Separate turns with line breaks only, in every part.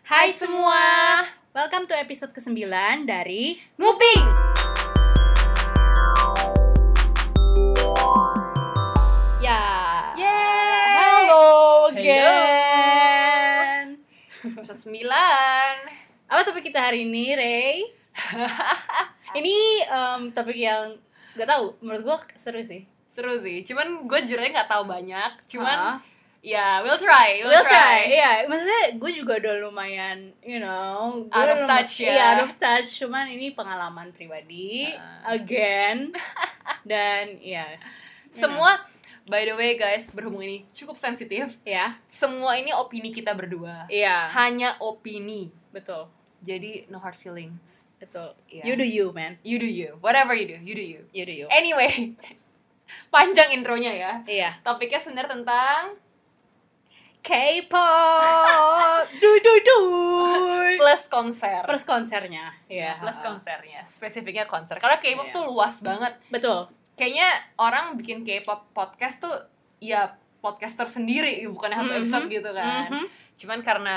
Hai semua, welcome to episode ke-9 dari
Nguping.
Ya.
Yeay.
Hello
Hello.
again.
Episode 9.
Apa topik kita hari ini, Ray? ini em, topik yang gak tahu, menurut gua seru sih.
Seru sih. Cuman gue jujurnya nggak tahu banyak.
Hah?
Cuman ya we'll try, we'll,
Uh-huh. We'll try.
try.
Iya, maksudnya gue juga udah lumayan, you know, gua
Out of
udah lum-
touch ya.
Iya, out of touch. Cuman ini pengalaman pribadi
Ah.
again. Dan ya,
Semua by the way guys, berhubung ini cukup sensitif,
ya,
semua ini opini kita berdua.
iya,
Hanya opini.
betul,
Jadi no hard feelings.
betul.
Iya.
You do you, man.
You do you. Whatever you do, you do you.
You do you.
Anyway, panjang intronya ya.
Iya.
Topiknya sebenarnya tentang
K-pop. du du du.
plus konser.
Plus konsernya.
Ya,
Iya.
plus konsernya. Spesifiknya konser. Karena K-pop
Iya.
tuh luas banget.
Betul.
Kayaknya orang bikin K-pop podcast tuh ya podcaster sendiri, bukan satu episode
Mhm.
gitu kan.
Mhm.
Cuman karena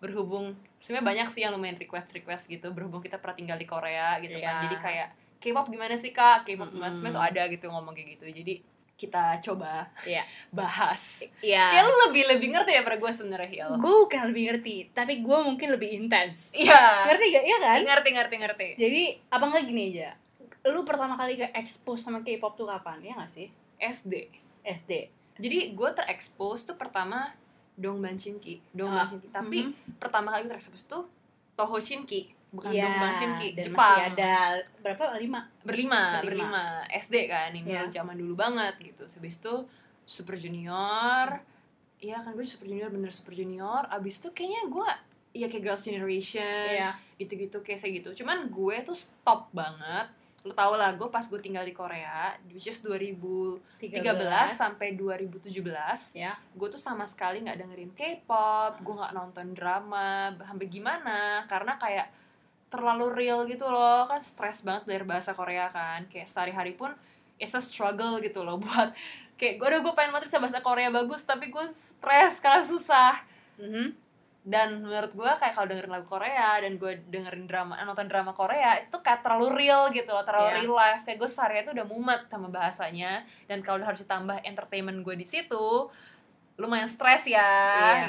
berhubung sebenarnya banyak sih yang lumayan request-request gitu, berhubung kita pernah tinggal di Korea gitu
Iya.
kan. Jadi kayak K-pop gimana sih Kak? K-pop gimana
Mhm.
sebenarnya tuh ada gitu ngomong kayak gitu. Jadi kita coba
Iya.
bahas.
Iya.
Kayak lu lebih lebih ngerti daripada gue sebenarnya Hil.
Gue bukan lebih ngerti, tapi gue mungkin lebih intens.
Iya.
Ngerti gak? Iya kan?
Ngerti ngerti ngerti.
Jadi, apa nggak gini aja? Lu pertama kali ke expose sama K-pop tuh kapan? Ya nggak sih?
SD.
SD.
jadi gue terekspos tuh pertama Dongban Shinki
Ah,
Dongban Shinki tapi
Mhm.
pertama kali terekspos tuh Toho Shinki bukan
Iya,
Dongban Shinki
dan
Jepang
Masih ada berapa? Lima.
berlima,
Berlima.
berlima SD kan ini
Iya.
zaman dulu banget gitu Terus habis itu Super Junior Iya kan gue Super Junior bener Super Junior abis itu kayaknya gue ya kayak Girls Generation
Iya.
gitu-gitu kayak kayak gitu cuman gue tuh stop banget lo tau lah gue pas gue tinggal di Korea which is 2013 sampai 2017
Ya.
gue tuh sama sekali nggak dengerin K-pop, gue nggak nonton drama, sampai gimana? Karena kayak terlalu real gitu loh, kan stres banget belajar bahasa Korea kan, kayak sehari-hari pun it's a struggle gitu loh buat kayak gue udah gue pengen banget bisa bahasa Korea bagus tapi gue stres karena susah
Mhm.
dan menurut gue kayak kalau dengerin lagu Korea dan gue dengerin drama eh, nonton drama Korea itu kayak terlalu real gitu loh terlalu
Iya.
real life kayak gue sehari itu udah mumet sama bahasanya dan kalau harus ditambah entertainment gue di situ lumayan stres ya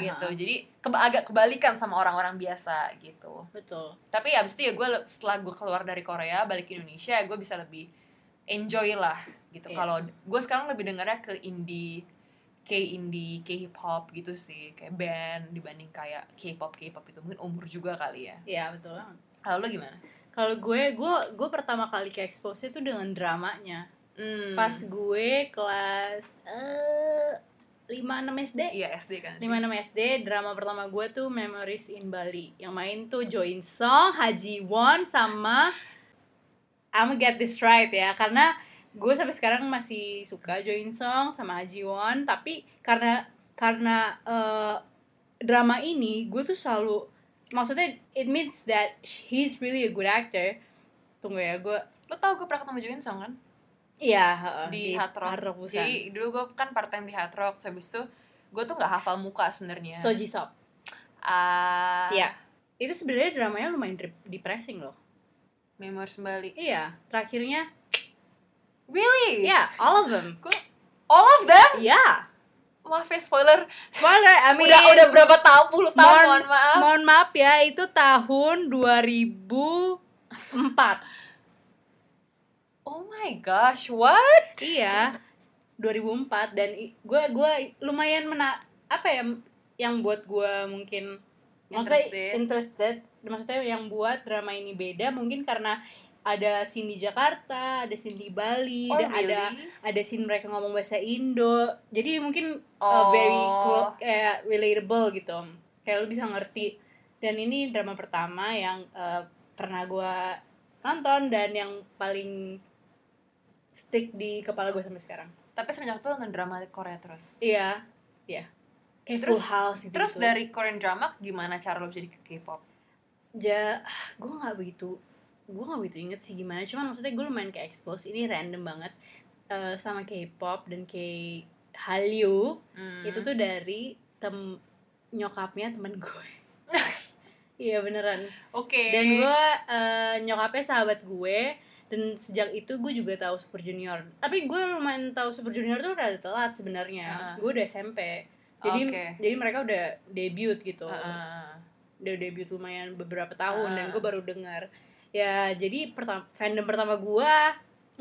Iya,
gitu jadi keba- agak kebalikan sama orang-orang biasa gitu
Betul.
tapi abis itu ya gue le- setelah gue keluar dari Korea balik ke Indonesia gue bisa lebih enjoy lah gitu
Iya.
kalau gue sekarang lebih dengarnya ke indie K indie K hip hop gitu sih kayak band dibanding kayak K pop K pop itu mungkin umur juga kali ya
Iya, betul.
kalau lo gimana
Kalau gue, gue, gue pertama kali ke expose itu dengan dramanya.
hmm.
Pas gue kelas eh 5-6 SD.
iya SD kan sih.
5-6 SD, drama pertama gue tuh Memories in Bali. Yang main tuh Jo In Sung, Ha Ji Won, sama I'm Get This Right ya. Karena gue sampai sekarang masih suka Jo In Sung sama Ha Ji Won. Tapi karena karena eh, drama ini, gue tuh selalu... Maksudnya, it means that he's really a good actor. Tunggu ya, gue...
lo tau gue pernah ketemu Jo In Sung kan
Iya, heeh,
di, Hard Rock,
Hard Rock Busan.
jadi dulu gue kan part time di Hard Rock terus habis itu gue tuh nggak hafal muka sebenarnya
So Ji Sop.
Ah,
Iya. Itu sebenarnya dramanya lumayan dep- depressing loh.
Memories Bali
Iya, terakhirnya
really
Yeah, Iya, all of them.
all of them
Yeah.
maaf ya spoiler
Spoiler, I mean,
Iya. udah udah berapa tahun puluh tahun
Mohon-
mohon maaf
mohon maaf ya, itu tahun 2004.
oh my gosh what
iya, 2004 dan i- gue gua lumayan mena apa ya yang buat gue mungkin maksudnya
Interested.
interested, maksudnya yang buat drama ini beda mungkin karena ada scene di Jakarta, ada scene di Bali,
oh,
dan
really?
ada ada scene mereka ngomong bahasa Indo. Jadi mungkin uh,
oh
very clo- kayak relatable gitu kayak lu bisa ngerti dan ini drama pertama yang uh, pernah gua nonton dan yang paling stick di kepala gue sampai sekarang
tapi semenjak itu nonton drama Korea terus
iya iya kayak
Terus-
Full House gitu
terus dari Korean drama gimana cara lo jadi ke K-pop
ja gue nggak begitu gue nggak begitu inget sih gimana cuman maksudnya gue lumayan ke expose ini random banget uh, sama K-pop dan K Hallyu
Hmm.
itu tuh dari tem nyokapnya temen gue Iya beneran.
Oke.
Dan gue nyokapnya sahabat gue dan sejak itu gue juga tahu Super Junior. Tapi gue lumayan tahu Super Junior tuh rada telat sebenarnya.
Ah.
Gue udah SMP. Jadi
Oke.
jadi mereka udah debut gitu.
Ah,
Udah debut lumayan beberapa tahun
Ah.
dan gue baru dengar. Ya, jadi pertama fandom pertama gue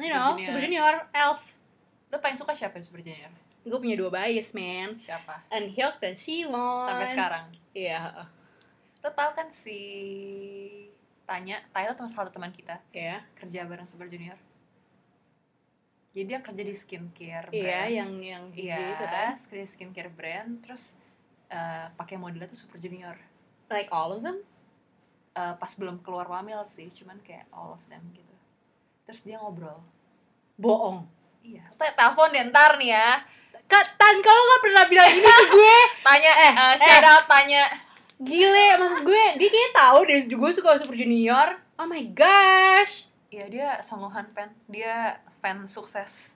you
Super
know,
Junior.
Super Junior, Elf.
Lo paling suka siapa di Super Junior?
Gue punya dua bias, man.
Siapa?
Unhyuk dan Siwon.
Sampai sekarang.
Iya, heeh.
Lo tau kan si Tanya, Tanya tuh teman salah satu teman kita
iya.
kerja bareng Super Junior. Jadi dia kerja di skincare
Iya,
brand.
yang yang gigi
Iya,
itu kan.
kerja di skincare brand. Terus eh, pakai modelnya tuh Super Junior.
Like all of them.
Eh, pas belum keluar wamil sih, cuman kayak all of them gitu. Terus dia ngobrol.
Bohong.
Iya. Te- Telepon deh ntar nih ya.
Kak Tan, kalau nggak pernah bilang ini ke gue,
Tanya,
Eh,
eh, shout out, tanya.
gile. Maksud gue, dia kayaknya tahu deh gue suka Super Junior. Oh my gosh.
Iya dia songgohan fan, dia fan sukses.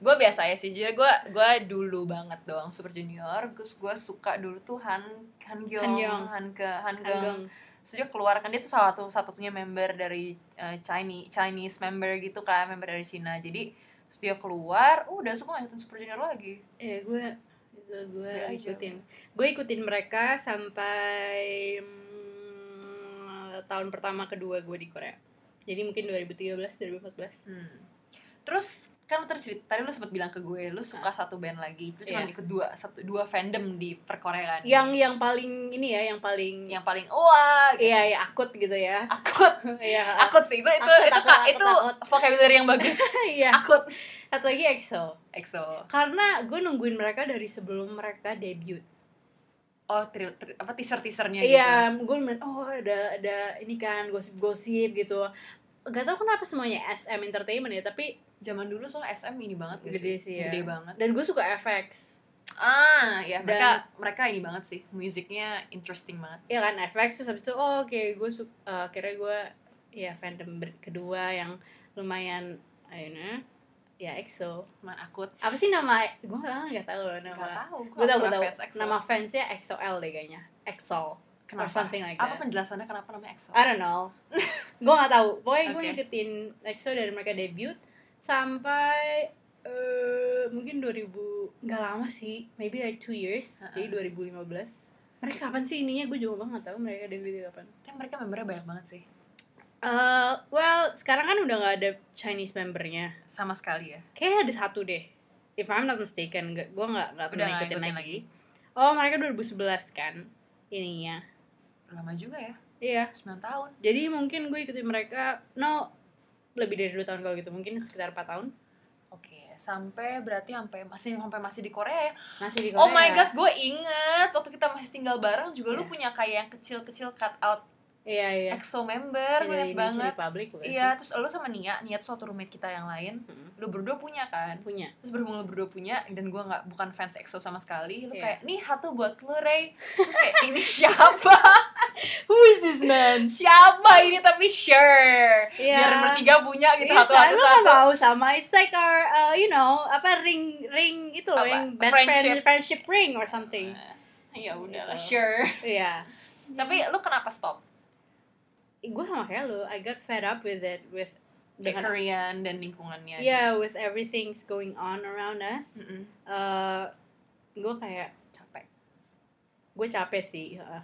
gue biasa ya sih, jujur gue gue dulu banget doang Super Junior. Terus gue suka dulu tuh Han Han
Han
Gyong,
Yeong.
Han Ke Han Geung.
Ageng.
Terus dia keluar kan dia tuh salah satu satunya member dari eh, Chinese Chinese member gitu kan, member dari Cina. Jadi terus dia keluar, uh, udah suka ngikutin Super Junior lagi.
Eh, gue itu gue
Gue aja.
ikutin. Gue ikutin mereka sampai mm, tahun pertama kedua gue di Korea. Jadi mungkin 2013, 2014.
Hmm. Terus kan lu tadi cerita, tadi lu sempat bilang ke gue lu suka satu band lagi, itu cuma
Ah. Iya.
ikut dua satu dua fandom di perkoreaan.
Yang yang paling ini ya, yang paling
yang paling wah gitu.
Iya, ya akut gitu ya.
akut
Iya,
akut sih itu itu
Akut,
itu
akut,
ka-
akut,
itu
akut.
vocabulary yang bagus
Iya.
akut
Satu lagi E EXO.
EXO
Karena gue nungguin mereka dari sebelum mereka debut.
oh tri, tri- apa gitu. teaser teasernya
Iya, gue main oh ada ada ini kan gosip-gosip gitu. Gak tau kenapa semuanya SM Entertainment ya, tapi
gitu zaman dulu soal SM ini banget gak
Gede
sih
sih ya.
gede banget
dan gue suka FX.
ah ya
Dan-
mereka mereka ini banget sih musiknya interesting banget
Ya kan FX terus habis itu oh oke gue suka akhirnya gue ya fandom ber- kedua yang lumayan akhirnya ya EXO.
cuman akut
Apa sih nama gue nggak tahu loh
nggak
nama.
tahu
Gue tau gue
nggak
tau
fans EXO.
nama fansnya E EXOL deh kayaknya. E EXOL or
kenapa
something like
apa
that.
penjelasannya kenapa namanya EXO
I don't know. gue nggak tahu. Pokoknya gue
Oke.
ngikutin EXO dari mereka debut sampai eh, mungkin 2000 nggak lama sih, maybe like two years.
Heeh.
Jadi 2015. Mereka kapan sih ininya? Gue juga nggak tahu mereka debutnya kapan.
tapi mereka membernya banyak banget sih
Eh, well, sekarang kan udah nggak ada Chinese membernya.
sama sekali ya
Kayaknya ada satu deh. If I'm not mistaken, gue nggak nggak
udah
pernah
nggak
ikutin
ikutin
lagi.
lagi
Oh, mereka 2011 kan ininya.
lama juga ya
Iya.
9 tahun
Jadi mungkin gue ikutin mereka, no, lebih dari 2 tahun kalau gitu, mungkin sekitar 4 tahun.
Oke, sampai berarti sampai masih sampai masih di Korea ya.
Masih di Korea.
Oh my god, gue inget waktu kita masih tinggal bareng juga
Iya.
lu punya kayak yang kecil-kecil cut out
Iya, iya.
EXO member
Iya,
banyak
ini
banget.
Cili Public bukan sih?
Iya, terus lu sama Nia, Nia tuh suatu roommate kita yang lain,
Mm-mm.
lu berdua punya kan?
Punya.
Terus berhubung lu berdua punya dan gue nggak bukan fans EXO sama sekali, lu
Iya.
kayak nih satu buat lu Ray. Terus kayak ini siapa?
Who is this man?
siapa ini tapi sure.
Iya.
Biar bertiga punya gitu
Iya
satu
kan,
satu
lo kan
satu.
mau sama It's like our, uh, you know, apa ring ring itu loh
Apa?
yang best friend
Friendship.
friendship ring or something.
Ya udahlah,
Gitu.
sure.
Iya.
Tapi lu kenapa stop?
Gue sama kayak lo, I got fed up with it with
the
dengan
Korean dan lingkungannya.
yeah, with everything's going on around us.
Mm-mm.
Eh, gue kayak
Capek,
gue capek sih. uh, heeh.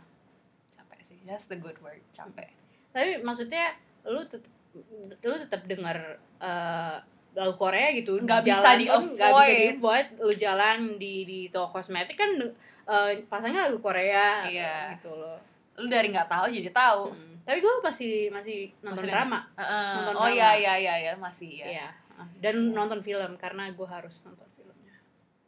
capek sih. That's the good word, capek.
tapi maksudnya lu tetap lu tetap dengar eh, lagu Korea gitu
Nggak
di
bisa
jalan
di
pun nggak bisa di
avoid.
avoid lu jalan di di toko kosmetik kan eh, pasangnya lagu Korea
Iya.
gitu loh
Lu dari nggak tahu jadi tahu.
Mm. tapi gue masih masih nonton
Masih
drama
Heeh.
Nonton
oh
drama.
iya iya iya iya masih ya.
Iya. dan
Iya.
nonton film karena gue harus nonton filmnya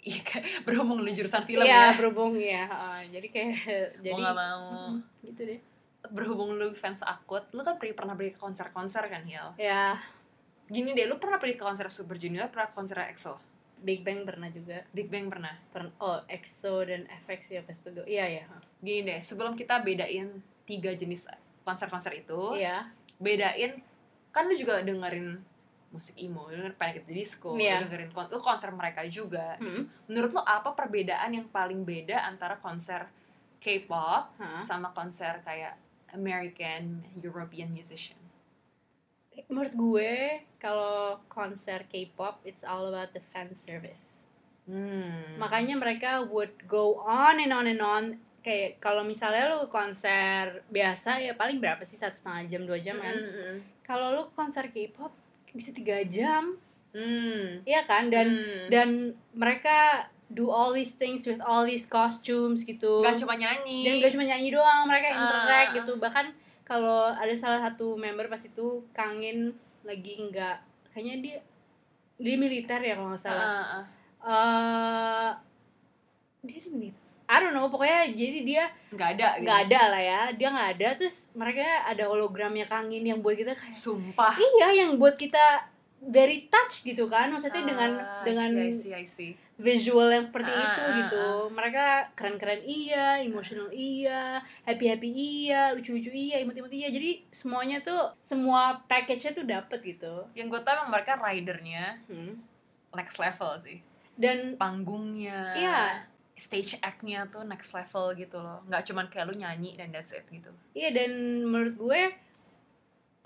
Iya, kayak berhubung lu jurusan film
Iya,
ya.
berhubung ya eh, jadi kayak jadi
mau nggak mau.
Mm, gitu deh
Berhubung lu fans akut, lu kan pergi, pernah pergi ke konser-konser kan, Hiel?
ya
Gini deh, lu pernah pergi ke konser Super Junior, pernah ke konser EXO?
Big Bang pernah juga
Big Bang pernah.
Pern- oh EXO dan FX ya pasti gue iya ya
Gini deh, sebelum kita bedain tiga jenis konser-konser itu,
iya
bedain kan lu juga dengerin musik emo, lu dengerin Panic at the Disco,
Iya.
lu dengerin kon- lu konser mereka juga.
Mm.
Menurut lu apa perbedaan yang paling beda antara konser K-pop
Hah?
sama konser kayak American European musician.
Menurut gue kalau konser K-pop it's all about the fan service.
Hmm.
Makanya mereka would go on and on and on kayak kalau misalnya lu konser biasa ya paling berapa sih satu setengah jam dua jam kan?
Hmm.
Kalau lu konser K-pop bisa tiga jam,
Hmm.
iya kan? Dan
Hmm.
dan mereka do all these things with all these costumes gitu.
Nggak cuma nyanyi.
dan gak cuma nyanyi doang mereka
Ah.
interact gitu bahkan kalau ada salah satu member pas itu kangen lagi nggak kayaknya dia dia militer ya kalau nggak salah
Ah, ah.
Eh, dia di militer I don't know pokoknya jadi dia
Nggak ada gitu.
nggak ada lah ya dia nggak ada terus mereka ada hologramnya kangen yang buat kita kayak
Sumpah.
iya yang buat kita very touch gitu kan maksudnya
Ah,
dengan dengan
I see, I see, I see.
visual yang seperti
Ah,
itu
ah,
gitu. Mereka keren-keren iya, emotional iya, happy-happy iya, lucu-lucu iya, imut-imut iya. Jadi semuanya tuh semua package-nya tuh dapet gitu.
Yang gue tau emang mereka ridernya next level sih.
Dan
Panggungnya.
Iya.
Stage act-nya tuh next level gitu loh. Nggak cuman kayak lu nyanyi dan that's it gitu.
iya dan menurut gue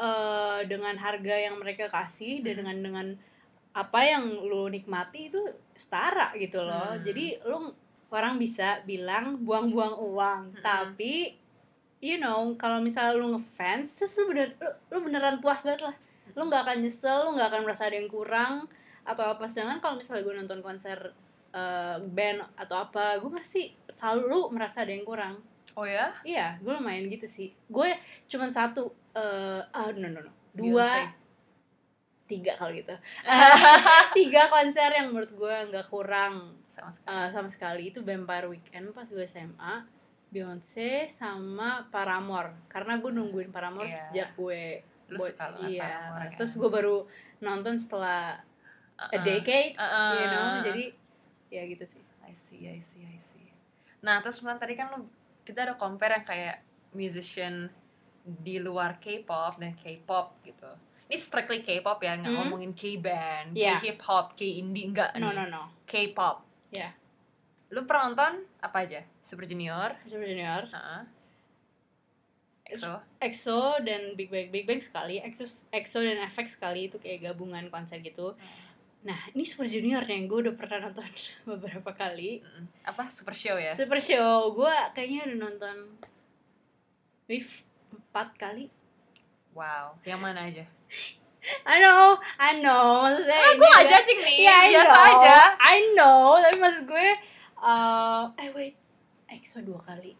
eh, dengan harga yang mereka kasih dan dengan dengan apa yang lu nikmati itu setara gitu loh.
Hmm.
Jadi lu orang bisa bilang buang-buang uang,
Mm-mm.
tapi you know kalau misalnya lu ngefans, terus lu bener lu, lu beneran puas banget lah. Lu nggak akan nyesel, lu nggak akan merasa ada yang kurang atau apa. Sedangkan kalau misalnya gue nonton konser eh, band atau apa, gue masih selalu merasa ada yang kurang.
Oh ya?
Iya, gue lumayan gitu sih. Gue cuman satu, eh ah no no no, dua, tiga kalau gitu.
Ah.
tiga konser yang menurut gue nggak kurang
Beyonce. Sama sekali.
eh, sama sekali itu Vampire Weekend pas gue SMA, Beyonce sama Paramore. Karena gue nungguin Paramore
Iya.
sejak gue
Lu
buat-
suka banget
iya.
Paramore, kan?
Terus gue baru nonton setelah
Uh-uh.
a decade,
Uh-uh.
you know. Jadi ya gitu sih.
I see, I see, I see. Nah, terus kemudian tadi kan lu kita ada compare yang kayak musician di luar K-pop dan K-pop gitu. Ini strictly K-pop ya, nggak
Hmm.
ngomongin K-band,
Yeah.
K-hip hop, K-indie, nggak
No no
nih.
Ya, no.
K-pop.
Yeah.
Lu pernah nonton apa aja? Super Junior,
Super Junior.
heeh. EXO,
EXO dan Big Bang Big Bang sekali EXO EXO dan FX sekali itu kayak gabungan konser gitu nah ini Super Junior yang gue udah pernah nonton beberapa kali
Mm-mm. apa Super Show ya?
Super Show gue kayaknya udah nonton Wif empat kali
Wow, yang mana aja?
I know I know maksudnya
Ah,
ini
gue nggak
udah-
judging nih,
Iya, I
biasa
know.
aja.
I know tapi maksud gue eh eh wait EXO dua kali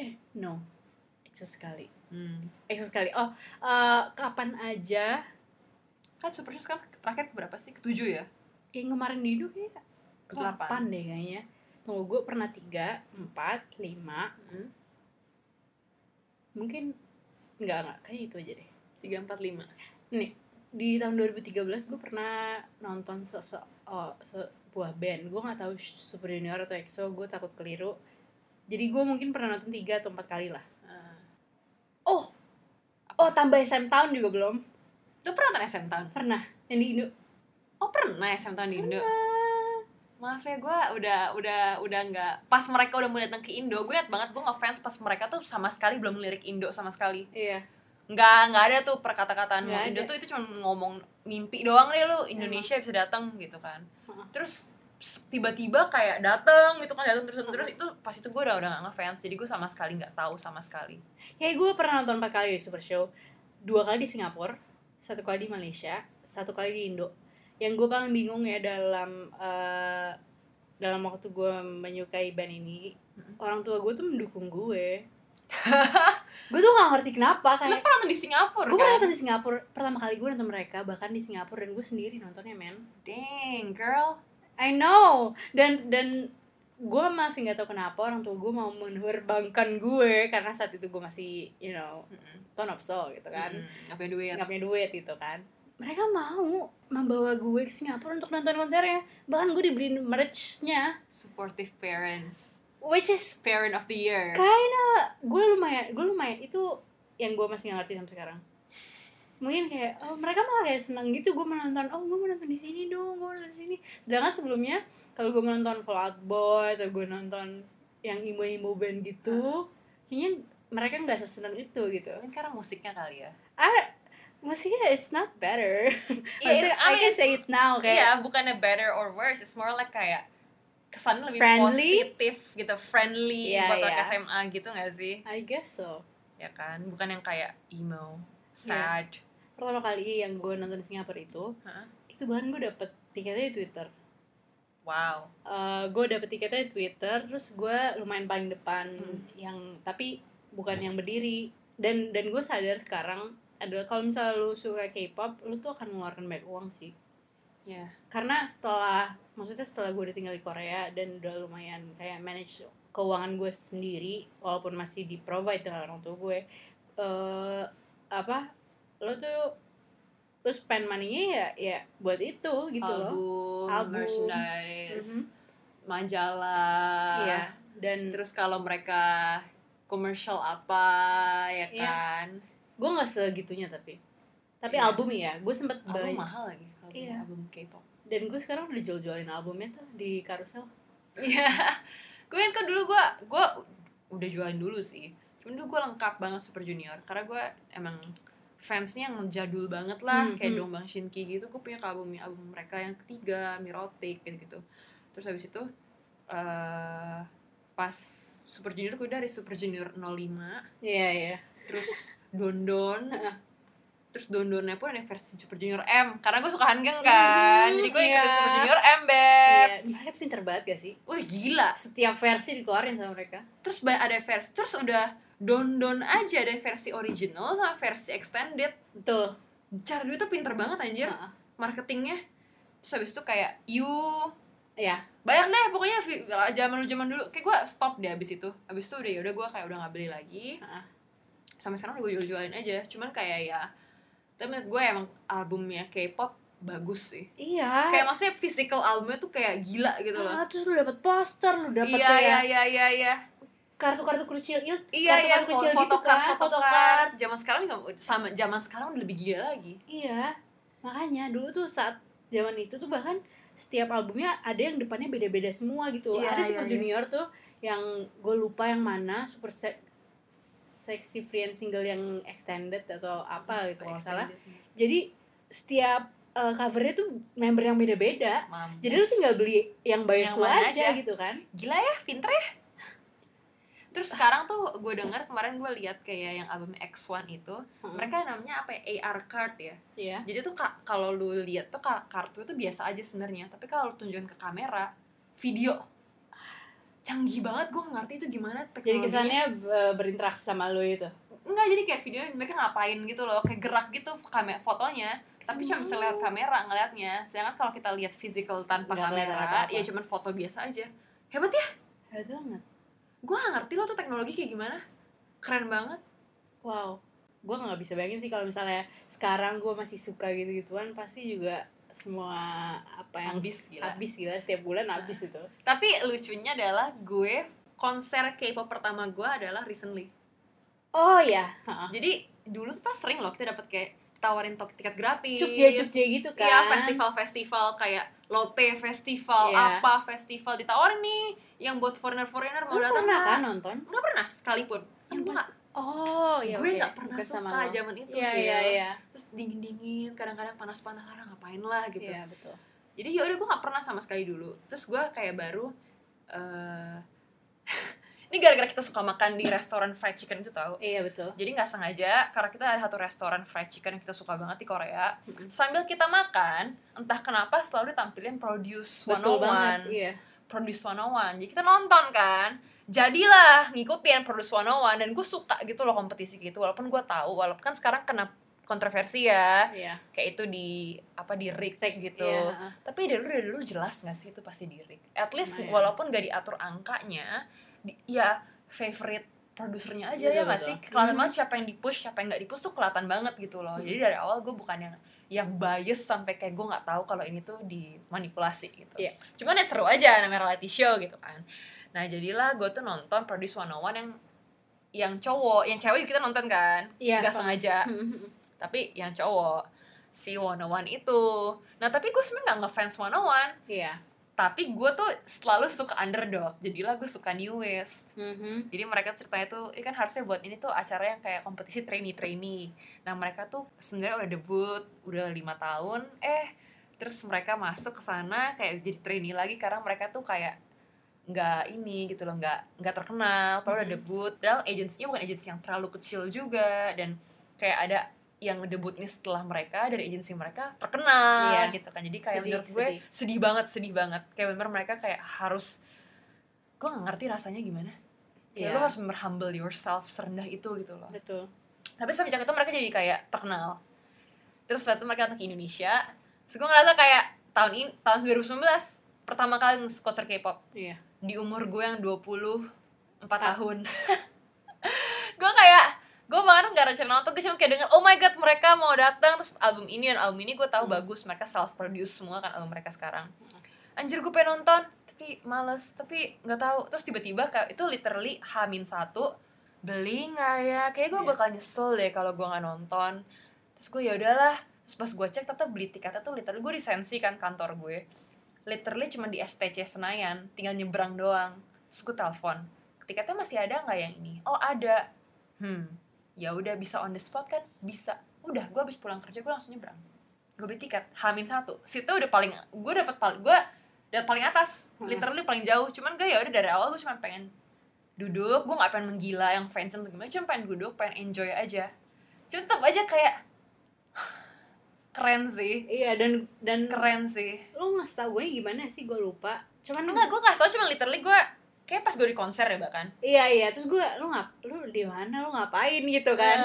eh no EXO sekali
Hmm.
EXO sekali oh eh, kapan aja
Kan Super Show sekarang terakhir keberapa sih? Ketujuh ya?
yang kemarin di Indo kayak
Kedelapan.
delapan deh kayaknya tunggu gue pernah tiga empat lima
Mm.
mungkin enggak enggak kayak itu aja deh
Tiga, empat, lima.
di tahun 2013 gue pernah nonton se se- oh, sebuah band gue nggak tahu Super Junior atau E EXO gue takut keliru jadi gue mungkin pernah nonton tiga atau empat kali lah
Ah.
oh oh tambah SM Town juga belum
Lu pernah nonton SM Town?
pernah yang di Indo
Oh pernah SM Town di Indo?
Pernah.
Maaf ya, gue udah udah udah nggak pas mereka udah mulai datang ke Indo, gue ingat banget gue ngefans pas mereka tuh sama sekali belum lirik Indo sama sekali.
iya
Nggak nggak ada tuh perkata-kataan
Nggak
mau Indo
ada.
tuh itu cuma ngomong mimpi doang deh lu Indonesia bisa datang gitu kan.
Heeh.
Terus ps- tiba-tiba kayak datang gitu kan datang terus terus itu pas itu gue udah udah nggak ngefans jadi gue sama sekali nggak tahu sama sekali.
Kayak gue pernah nonton empat kali di Super Show Dua kali di Singapura Satu kali di Malaysia Satu kali di Indo Yang gue paling bingung ya dalam eh, Dalam waktu gue menyukai band ini
Mm-mm.
Orang tua gue tuh mendukung gue Gue tuh gak ngerti kenapa
Lu
kayak
pernah nonton di Singapura
Gue pernah
kan?
nonton di Singapura Pertama kali gue nonton mereka Bahkan di Singapura Dan gue sendiri nontonnya men
Dang girl.
I know Dan dan gue masih nggak tahu kenapa orang tua gue mau menerbangkan gue karena saat itu gue masih you know ton of soul gitu kan
Kan? Gak punya duit.
nggak punya duit gitu kan mereka mau membawa gue ke Singapura untuk nonton konsernya bahkan gue dibeliin merch-nya
Supportive parents.
which is
Parent of the year.
kinda gue lumayan gue lumayan itu yang gue masih nggak ngerti sampai sekarang mungkin kayak oh, mereka malah kayak seneng gitu gue menonton oh gue menonton di sini dong gue menonton di sini sedangkan sebelumnya kalau gue menonton Fall Out Boy atau gue nonton yang imbo-imbo band gitu kayaknya mereka nggak sesenang itu gitu
Mungkin karena musiknya kali ya.
ah musiknya it's not better Maksudnya,
itu- Iya,
I
I mean,
can say Oh, it now
Iya,
kayak
bukannya better or worse, it's more like kayak kesannya lebih
Friendly?
positif gitu, friendly
Iya,
buat anak
iya.
SMA gitu gak sih?
I guess so
Ya kan, bukan yang kayak emo,
Iya.
sad.
pertama kali yang gue nonton di Singapura itu
Hah?
itu bahkan gue dapet tiketnya di Twitter
Wow.
Eh, gue dapet tiketnya di Twitter terus gue lumayan paling depan
Hmm.
yang tapi bukan yang berdiri dan dan gue sadar sekarang adalah kalau misalnya lu suka K-pop lu tuh akan mengeluarkan banyak uang sih
Iya.
karena setelah maksudnya setelah gue udah tinggal di Korea dan udah lumayan kayak manage keuangan gue sendiri walaupun masih di provide dengan orang tua gue eh apa lo tuh lo spend money ya ya buat itu
Oh,
gitu loh
Album,
Album. Mhm.
merchandise, majalah.
Iya. dan
Terus kalau mereka komersial apa ya
Iya.
kan?
gue nggak segitunya tapi tapi
Iya.
album ya gue sempet
Album
banyak
mahal lagi kalau
Iya.
album K-pop.
dan gue sekarang udah jual-jualin albumnya tuh di karusel
Iya. gue kan dulu gue gue udah jualan dulu sih. Cuman dulu gue lengkap banget Super Junior karena gue emang fansnya yang jadul banget lah
Hmm,
kayak
hmm.
Dombang Shinki gitu gue punya ke album album mereka yang ketiga Mirotic gitu gitu terus habis itu eh pas Super Junior gue dari Super Junior 05
iya iya
terus Dondon terus Dondonnya pun ada versi Super Junior M karena gue suka Hanggang kan
Hmm,
jadi gue ikutin
iya.
Super Junior M beb
Iya, mereka tuh pinter banget gak sih
wah gila
setiap versi dikeluarin sama mereka
terus ba- ada versi terus udah don don aja ada versi original sama versi extended
betul
cara dulu tuh pinter banget anjir
Heeh.
marketingnya terus habis itu kayak you
Iya.
banyak deh pokoknya vi- zaman dulu zaman dulu kayak gue stop deh abis itu abis itu udah ya udah gue kayak udah nggak beli lagi
Heeh.
sampai sekarang gue jual jualin aja cuman kayak ya tapi menurut gue emang albumnya K-pop bagus sih
iya
kayak maksudnya physical albumnya tuh kayak gila gitu loh
Ah, ya. terus lu dapat poster, lu dapat
iya
kayak
iya iya iya iya
kartu-kartu krucil itu,
Iya iya
kartu-kartu kecil gitu
fotokart,
kan,
fotokart.
fotokart.
Zaman sekarang juga sama zaman sekarang udah lebih gila lagi.
Iya. Makanya dulu tuh saat zaman itu tuh bahkan setiap albumnya ada yang depannya beda-beda semua gitu.
Iya,
ada
iya,
Super
iya.
Junior tuh yang gue lupa yang mana, Super Se- Sexy Free and Single yang extended atau apa gitu kalau nggak salah.
Nah,
Jadi setiap eh, covernya tuh member yang beda-beda.
Mampus.
Jadi lu tinggal beli yang bias
Yang
lu
mana
aja,
aja.
gitu kan.
gila ya, pinter ya. Terus sekarang tuh gue dengar kemarin gue lihat kayak yang album X1 itu,
Heeh.
mereka namanya apa ya? AR card ya.
Iya.
Jadi tuh ka- kalau lu lihat tuh ka- kartu itu biasa aja sebenarnya, tapi kalau lu tunjukin ke kamera, video canggih banget gue ngerti itu gimana
Jadi
teknologinya
kesannya eh, berinteraksi sama lu itu.
Enggak, jadi kayak videonya mereka ngapain gitu loh, kayak gerak gitu kamera fotonya. Tapi cuma bisa lihat
Hmm.
kamera ngelihatnya. Sedangkan kalau kita lihat physical tanpa
Nggak kelihatan
kamera,
apa-apa.
ya cuman foto biasa aja. Hebat ya?
Hebat banget.
Gue gak ngerti loh tuh teknologi kayak gimana. Keren banget.
Wow, gue nggak bisa bayangin sih kalau misalnya sekarang gue masih suka gitu-gituan pasti juga semua apa yang
Habis gila. Nah.
habis gila setiap bulan habis itu.
Tapi lucunya adalah gue konser K-pop pertama gue adalah recently.
Oh ya,
Jadi dulu tuh pas sering loh kita dapat kayak tawarin tok- tiket gratis.
cukje cukje gitu kan?
Iya, festival-festival kayak Lotte Festival,
Iya.
apa festival ditawarin nih yang buat foreigner-foreigner mau
Lu
datang
pernah
nggak?
kan nonton?
nggak pernah sekalipun kan
Yang
gue
pas-
nggak-
Oh ya.
gue
oke.
nggak pernah
Bukan sama
suka
lo.
zaman itu
Iya
Del.
iya iya.
terus dingin dingin kadang-kadang panas panas kadang ngapain lah gitu
Iya betul.
jadi ya udah gue nggak pernah sama sekali dulu terus gue kayak baru eh ini gara-gara kita suka makan di restoran fried chicken itu tau
Iya betul.
jadi nggak sengaja karena kita ada satu restoran fried chicken yang kita suka banget di Korea
Mm-mm.
sambil kita makan entah kenapa selalu ditampilin produce
Betul banget.
101
Iya.
Produce 101 Jadi kita nonton kan Jadilah ngikutin Produce 101 Dan gue suka gitu loh kompetisi gitu Walaupun gue tahu Walaupun kan sekarang kena kontroversi ya
Iya.
Kayak itu di Apa di rig gitu
Iya, heeh.
Tapi dari dulu, dari dulu jelas gak sih itu pasti di rig At least
Lumayan.
walaupun gak diatur angkanya di- Ya favorite produsernya aja
Betul,
ya gak
betul.
sih Kelihatan
Hmm.
banget siapa yang di push Siapa yang gak di push tuh kelihatan banget gitu loh
Mm-hmm.
Jadi dari awal gue bukan yang yang bias sampai kayak gue nggak tahu kalau ini tuh dimanipulasi gitu.
Iya.
Cuman ya seru aja namanya reality show gitu kan. Nah jadilah gue tuh nonton Produce 101 yang yang cowok, yang cewek kita nonton kan,
Iya. Mm-hmm.
nggak sengaja.
Heeh.
Tapi yang cowok si 101 itu. Nah tapi gue sebenarnya nggak ngefans 101
Iya.
tapi gue tuh selalu suka underdog jadilah gue suka New West
Mhm.
jadi mereka ceritanya tuh ini kan harusnya buat ini tuh acara yang kayak kompetisi trainee trainee nah mereka tuh sebenarnya udah debut udah lima tahun eh terus mereka masuk ke sana kayak jadi trainee lagi karena mereka tuh kayak nggak ini gitu loh nggak nggak terkenal padahal udah
Mhm.
debut padahal agensinya bukan agensi yang terlalu kecil juga dan kayak ada yang debutnya setelah mereka dari agensi mereka terkenal
Iya.
gitu kan jadi kayak
Sedih,
menurut gue
sedih.
sedih. banget sedih banget kayak memang mereka kayak harus gue gak ngerti rasanya gimana
Iya.
kayak lo Ya, harus bener humble yourself serendah itu gitu loh
Betul.
tapi semenjak itu mereka jadi kayak terkenal terus setelah itu mereka datang ke Indonesia terus gue ngerasa kayak tahun ini tahun 2019 pertama kali ngurus konser K-pop
Iya.
di umur gue yang 24
Ah.
tahun gue kayak gue bahkan nggak rencana nonton gue cuma kayak denger oh my god mereka mau datang terus album ini dan album ini gue tahu
Hmm.
bagus mereka self produce semua kan album mereka sekarang anjir gue pengen nonton tapi males tapi nggak tahu terus tiba-tiba kayak itu literally hamin satu beli nggak ya kayak gue
Iya.
bakal nyesel deh kalau gue nggak nonton terus gue ya udahlah terus pas gue cek tetap beli tiketnya tuh literally gue disensi kan kantor gue literally cuma di STC Senayan tinggal nyebrang doang terus gue telepon tiketnya masih ada nggak yang ini oh ada hmm ya udah bisa on the spot kan bisa udah gue habis pulang kerja gue langsung nyebrang gue beli tiket hamin satu situ udah paling gue dapat paling gue dapat paling atas
Hmm.
literally paling jauh cuman gue ya udah dari awal gue cuma pengen duduk gue nggak pengen menggila yang fans atau gimana cuma pengen duduk pengen enjoy aja cuma tetap aja kayak keren sih
Iya dan dan
keren sih
lu ngasih tau gue gimana sih gue lupa. Cuman
enggak gue kasih tau cuma literally gue kayak pas gue di konser ya bahkan
Iya iya terus gue lu ngap lu di mana lu ngapain gitu kan?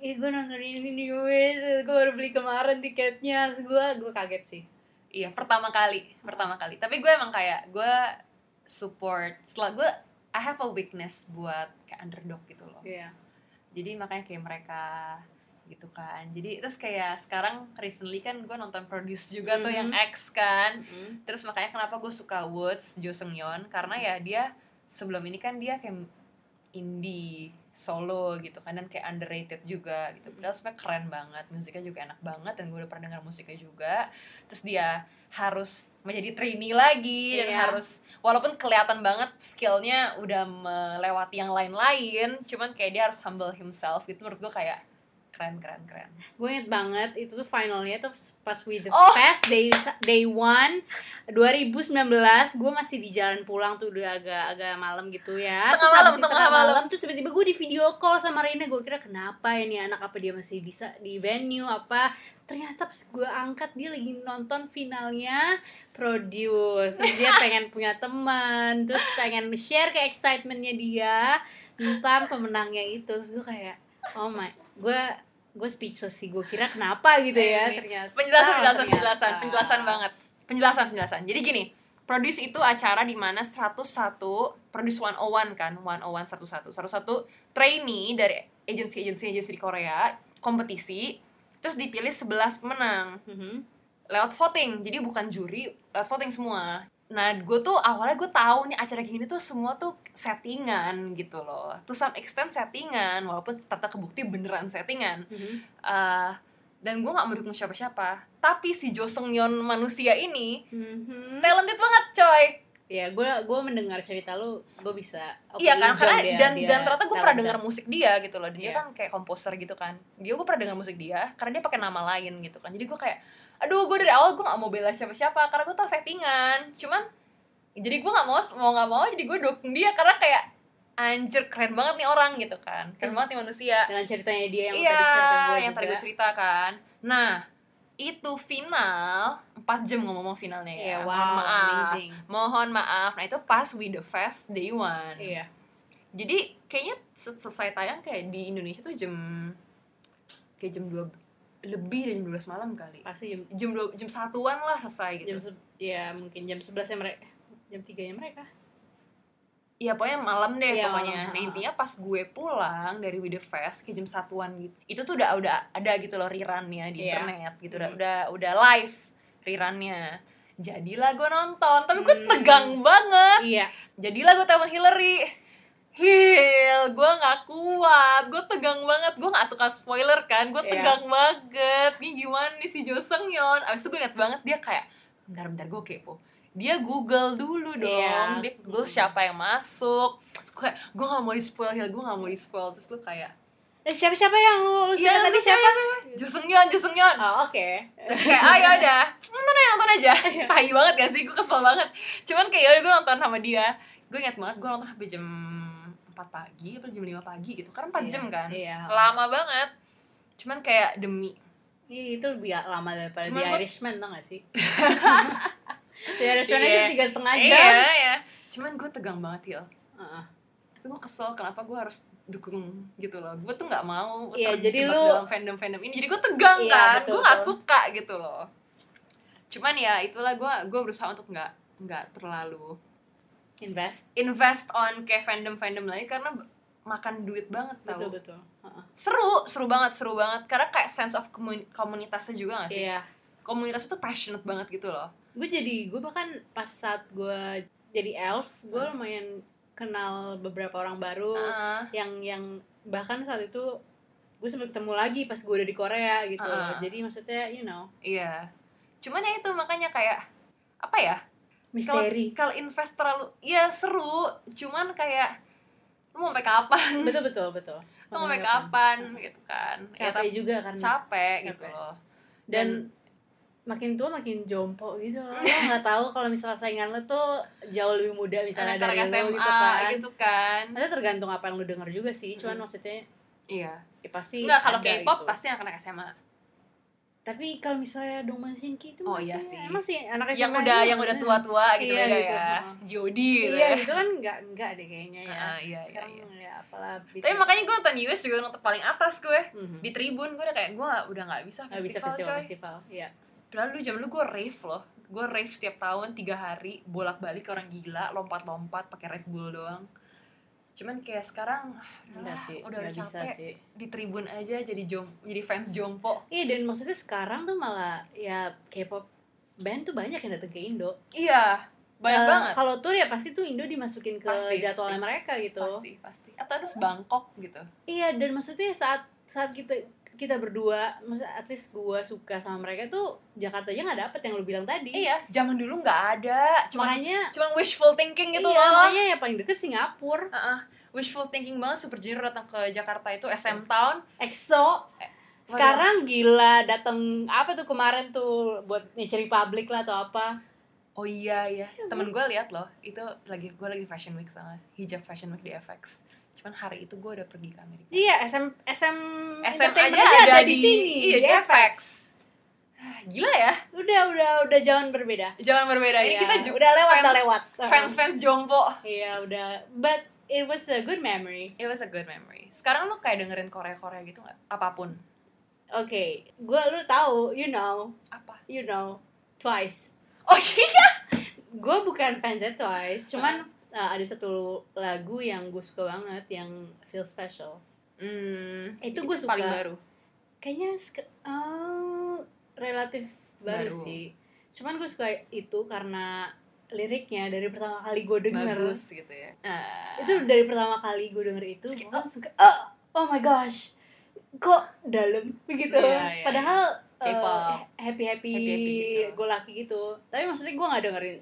Eh,
Ih gue nonton ini di US, gue baru beli kemarin tiketnya, terus gue gue kaget sih.
Iya, pertama kali, pertama kali. Tapi gue emang kayak gue support. Setelah gue I have a weakness buat kayak underdog gitu loh.
Iya.
Jadi makanya kayak mereka gitu kan. Jadi terus kayak sekarang recently kan gue nonton produce juga tuh yang
Mhm.
X kan.
Mm-mm.
Terus makanya kenapa gue suka Woods Jo Seung Yeon karena ya dia sebelum ini kan dia kayak indie solo gitu kan dan kayak underrated juga gitu padahal sebenarnya keren banget musiknya juga enak banget dan gue udah pernah denger musiknya juga terus dia harus menjadi trainee lagi dan
Iya.
harus walaupun kelihatan banget skillnya udah melewati yang lain-lain cuman kayak dia harus humble himself gitu menurut gue kayak keren keren keren
Gue inget banget itu tuh finalnya tuh pas We The
Oh.
Fest day day one 2019 gue masih di jalan pulang tuh udah agak agak malam gitu ya.
Tengah
terus
malam,
habis itu
tengah
tengah
malam.
malam, terus tiba-tiba gue di video call sama Rina gue kira kenapa ini anak apa dia masih bisa di venue apa ternyata pas gue angkat dia lagi nonton finalnya produce Terus dia pengen punya teman terus pengen share ke excitementnya dia tentang pemenangnya itu terus gue kayak oh my gue gue speechless sih gue kira kenapa gitu ya
Ini.
ternyata
penjelasan
Oh, ternyata.
penjelasan penjelasan penjelasan banget penjelasan penjelasan jadi gini Produce itu acara di mana 101 Produce 101 kan 101 11 11 trainee dari agensi-agensi agensi di Korea kompetisi terus dipilih 11 pemenang
Mhm.
lewat voting jadi bukan juri lewat voting semua nah gue tuh awalnya gue tahu nih acara kayak gini tuh semua tuh settingan gitu loh to some extent settingan walaupun tata kebukti beneran settingan
Mhm.
Eh, dan gue nggak mendukung siapa-siapa tapi si Jo Seung Yeon manusia ini
Mhm.
talented banget coy
ya gue gue mendengar cerita lu gue bisa Oke,
iya kan
hijau
karena
dia-
dan
Oh, dia
dan ternyata gue pernah
talenta.
dengar musik dia gitu loh dan dia
Iya.
kan kayak komposer gitu kan dia gue pernah dengar musik dia karena dia pakai nama lain gitu kan jadi gue kayak aduh gue dari awal gue nggak mau bela siapa-siapa karena gue tau settingan cuman jadi gue nggak mau mau nggak mau jadi gue dukung dia karena kayak anjir keren banget nih orang gitu kan keren
Terus-
banget nih manusia
dengan ceritanya dia yang
iya,
tadi cerita gue
yang tadi gue ceritakan. Nah, itu final 4 jam ngomong-ngomong finalnya ya.
ya wow
Mohon maaf.
amazing
Mohon maaf. Nah, itu pas We The Fest day one.
iya
Jadi kayaknya se- selesai tayang kayak di Indonesia tuh jam kayak jam 2 lebih dari jam 12 malam kali.
pasti jam
Jam 2 jam satuan lah selesai
jam
gitu.
se- ya mungkin jam 11 ya mereka jam 3 ya mereka
Iya, pokoknya malam deh
Iya,
pokoknya.
malam.
Nah, intinya pas gue pulang dari We The Fest kayak jam satuan gitu. Itu tuh udah udah ada gitu loh rerunnya di
Iya.
internet gitu. Udah
Mhm.
udah udah live rerunnya. Jadilah gue nonton, tapi gue
Hmm.
tegang banget.
iya
Jadilah gue telepon Hillary. Hil, gue gak kuat, gue tegang banget, gue gak suka spoiler kan, gue
Iya.
tegang banget Ini gimana nih si Jo Seung Yeon Abis itu gue inget banget dia kayak, bentar-bentar gue kepo dia Google dulu dong
Iya.
dia Google siapa yang masuk Terus gue kayak gue gak mau di spoil Hil gue gak mau di spoil terus lu kayak
Eh, siapa-siapa yang lu lu
Iya,
sebut tadi siapa?
Josungyeon Josungyeon
Oh, oke.
Terus kayak ah yaudah nonton aja nonton aja
Iya.
tai banget gak sih gue kesel banget cuman kayak yaudah gue nonton sama dia gue ingat banget gue nonton sampai jam 4 pagi apa jam 5 pagi gitu karena 4 jam kan
Iya.
lama banget cuman kayak demi
Iya, itu lebih lama daripada
Cuman
The
gua-
Irishman tau gak sih? The Irishman
Iya.
aja tiga setengah jam.
iya iya cuman gue tegang banget Hil
Heeh.
tapi gue kesel kenapa gue harus dukung gitu loh gue tuh nggak mau
Iya,
terjebak
jadi lu-
dalam fandom fandom ini jadi gue tegang
Iya,
kan
betul,
gue nggak
betul.
suka gitu loh cuman ya itulah gue gue berusaha untuk nggak nggak terlalu
Invest.
invest on kayak fandom fandom lagi karena b- makan duit banget
Betul
tau
betul. Heeh.
seru seru banget seru banget karena kayak sense of commun- komunitasnya juga gak sih
Iya.
komunitas itu passionate banget gitu loh
Gue jadi gue bahkan pas saat gue jadi elf, gue lumayan kenal beberapa orang baru
Ah,
yang yang bahkan saat itu gue sempat ketemu lagi pas gue udah di Korea gitu loh.
Ah.
Jadi maksudnya you know,
iya cuman ya itu makanya kayak apa ya Kalau-
misteri.
kalau invest terlalu ya seru cuman kayak lu mau sampai kapan
betul betul Iya, betul.
lu mau sampai kapan gitu kan ya
Capek
tapi
juga kan.
capek gitu
Capek.
loh
dan makin tua makin jompo gitu loh. Lo nggak tahu kalau misalnya saingan lo tuh jauh lebih muda misalnya
anak-anak
dari
SMA
lo gitu kan.
gitu kan
Maksudnya tergantung apa yang lo denger juga sih. Cuman
Hmm.
maksudnya
iya
ya pasti
enggak kalau
ada
K-pop
gitu.
pasti anak-anak SMA
Tapi kalau misalnya Dongman Shinki itu
Oh,
masih-
iya sih.
Emang sih anak SMA
yang udah yang udah tua-tua gitu
Eh, Iya,
beda
gitu.
ya Jody gitu
Iya,
ya
gitu kan enggak enggak deh kayaknya ya.
Ah, iya, iya,
Sekarang
iya.
ya apalah.
tapi makanya gue nonton US juga nonton paling atas gue
Mhm.
di tribun gue udah kayak gue udah nggak bisa
Nggak bisa
festival,
festival
coy
festival. Iya.
Padahal dulu zaman dulu gue rave loh Gue rave setiap tahun, tiga hari Bolak-balik ke orang gila, lompat-lompat pakai Red Bull doang Cuman kayak sekarang
Enggak
ah,
sih.
Udah
nggak bisa
capek
sih.
Di tribun aja jadi jom, jadi fans jompo
Iya, dan maksudnya sekarang tuh malah ya K-pop band tuh banyak yang datang ke Indo.
Iya, banyak
Eh,
banget
Kalau tour ya pasti tuh Indo dimasukin ke
Pasti,
jadwalnya
pasti.
mereka gitu.
Pasti, pasti Atau ada Bangkok gitu
Iya, dan maksudnya saat saat kita kita berdua, maksudnya at least gua suka sama mereka tuh Jakarta aja nggak dapet yang lu bilang tadi.
Iya, zaman dulu nggak ada Cuman,
makanya
cuman wishful thinking gitu
iya,
loh
makanya ya paling deket Singapura,
Ah, ah. Wishful thinking banget Super Junior datang ke Jakarta itu SM Town
EXO. Sekarang gila dateng apa tuh kemarin tuh buat nyeri publik lah atau apa?
Oh iya iya, temen gue lihat loh, itu lagi gue lagi fashion week sama hijab fashion week di FX. Cuman hari itu gue udah pergi ke Amerika.
Iya, SM SM
SM aja
entertainment
ada, di, sini, iya, di
Iya,
FX. Ah, Gila ya,
Udah, udah, udah jalan berbeda.
zaman berbeda. Ini
Iya,
kita juga
udah lewat,
fans-
udah lewat.
fans fans jompo.
Iya udah, but it was a good memory.
It was a good memory. Sekarang lo kayak dengerin Korea Korea gitu nggak? Apapun.
Oke, gue lu tahu, you know,
Apa?
you know, twice.
Oh iya.
Gue bukan fansnya twice, cuman uh, ada satu lagu yang gue suka banget yang feel special.
Hmm,
Itu gue suka.
Paling baru.
Kayaknya sek- oh, relatif baru,
Baru.
sih. Cuman gue suka itu karena liriknya dari pertama kali gue denger.
Bagus gitu ya. Ah.
itu dari pertama kali gue denger itu
Terus kayak,
gue langsung kayak, "Ah, oh my gosh kok dalam begitu
Iya, iya,
padahal
K-pop.
happy happy
Happy-happy gitu.
gue laki gitu tapi maksudnya gue nggak dengerin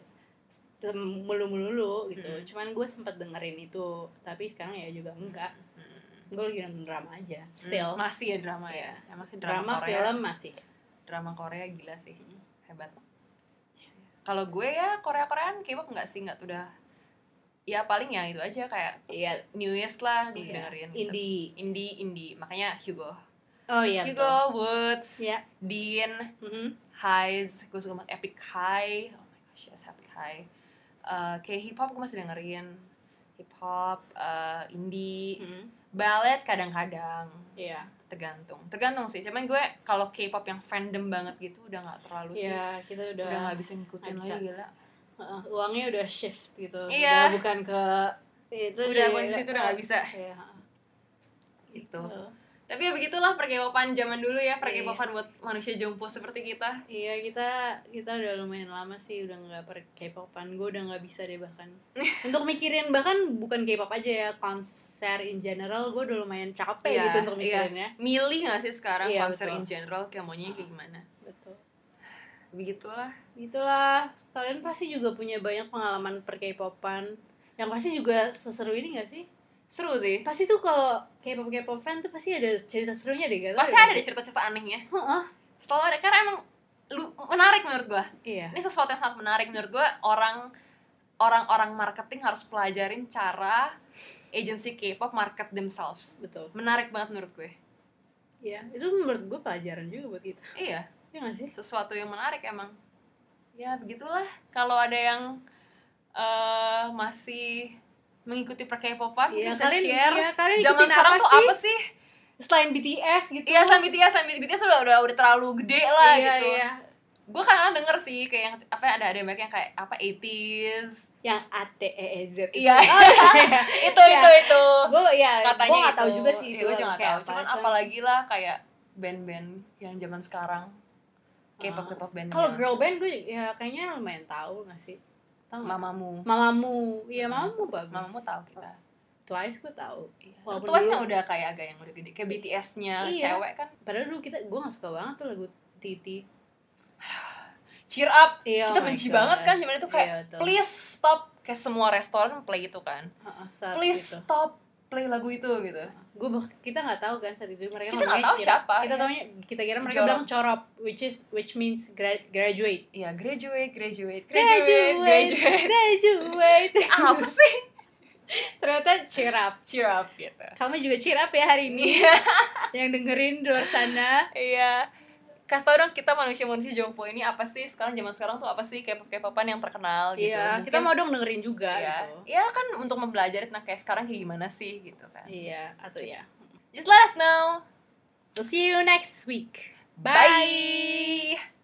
mulu mulu gitu
Mm.
cuman gue sempat dengerin itu tapi sekarang ya juga enggak
Hmm.
gue lagi nonton drama aja still
Hmm, masih ya drama ya.
Iya.
Ya, masih
drama,
drama, Korea.
film masih
drama Korea gila sih hebat kalau gue ya Korea Koreaan K-pop nggak sih nggak udah ya paling ya itu aja kayak
iya
newest lah gue
Iya.
dengerin gitu.
indie
indie indie makanya Hugo
oh iya
Hugo Woods
betul. Iya.
Dean
Mhm.
Highs gue suka banget Epic High oh my gosh yes Epic High Eh, kayak hip hop gue masih dengerin hip hop eh, indie
Mhm.
ballet kadang-kadang
iya
tergantung tergantung sih cuman gue kalau K-pop yang fandom banget gitu udah nggak terlalu sih
Iya, kita udah,
udah nggak bisa ngikutin
nggak
lagi
bisa.
gila
Heeh, uangnya udah shift gitu
Iya.
udah bukan ke itu
udah
di-
kondisi itu udah nggak bisa
Iya,
gitu
heeh.
tapi ya begitulah perkepopan zaman dulu ya perkepopan
Iya.
buat manusia jompo seperti kita
iya kita kita udah lumayan lama sih udah nggak per K-popan gue udah nggak bisa deh bahkan untuk mikirin bahkan bukan K-pop aja ya konser in general gue udah lumayan capek
Iya,
gitu untuk
iya.
mikirinnya
milih nggak sih sekarang
Iya,
konser
betul.
in general kayak maunya kayak gimana
betul
begitulah
Gitulah. Kalian pasti juga punya banyak pengalaman per K-popan. Yang pasti juga seseru ini gak sih?
seru sih
Pasti tuh kalau K-pop K-pop fan tuh pasti ada cerita serunya deh, gak? tau
pasti
ya?
ada deh cerita-cerita anehnya
Heeh.
selalu ada karena emang lu- menarik menurut gua
Iya.
ini sesuatu yang sangat menarik menurut gue orang orang-orang marketing harus pelajarin cara agency K-pop market themselves
Betul.
menarik banget menurut gue
Iya, itu menurut gue pelajaran juga buat kita.
iya
Iya gak sih?
sesuatu yang menarik emang ya begitulah kalau ada yang eh, masih mengikuti per K-popan
Iya,
bisa
kalian
share
iya, kalian
zaman
ikutin
sekarang
apa
tuh
sih?
apa sih
Selain BTS gitu.
iya selain BTS selain BTS udah udah udah terlalu gede lah
iya,
gitu
iya.
gue kadang denger sih kayak yang apa ya, ada ada banyak yang kayak apa 80s
Yang A T E E Z.
Iya.
Oh, iya.
itu
Iya.
itu itu
gue ya
katanya
gue nggak tahu
itu.
juga sih
Iya,
itu
gue juga nggak
kayak
tahu cuman
soalnya-
apalagi lah kayak band-band yang zaman sekarang
Ah.
K-pop K-pop band
kalau
yang-
girl band gue ya kayaknya lumayan tahu nggak sih tahu nggak?
mamamu Hmm.
mamamu iya mamamu bagus
mamamu tahu kita
twice gue tahu
iya.
Walaupun
tuasnya
dulu-
udah kayak agak yang udah gede kayak BTS-nya
Iya.
cewek kan
padahal dulu kita gue nggak suka banget tuh lagu titi
cheer up
iya
Kita
oh my
benci
gosh.
banget kan, cuman itu kayak,
Iya, betul.
please stop kayak semua restoran play itu kan
Ha-ha, saat
please
itu.
stop play lagu itu gitu
gue kita nggak tahu kan saat itu mereka
Kita nggak
ngomongnya
tahu
cirap.
siapa,
kita
iya.
taunya kita kira mereka
Jorok.
bilang corop which is which means gra- graduate
Iya, graduate, graduate,
graduate
graduate, graduate. Ah,
graduate
Apa sih?
ternyata cheer up
Cheer up gitu.
kamu juga cheer up ya hari ini
Iya.
yang dengerin di luar sana
Iya. Kasih tau dong kita manusia-manusia jompo ini apa sih sekarang zaman sekarang tuh apa sih kayak kayak papan yang terkenal gitu.
iya kita mau dong dengerin juga
ya,
gitu
ya kan untuk mempelajari tentang kayak sekarang kayak gimana sih gitu kan.
iya atau ya
Just let us know.
we'll see you next week
Bye.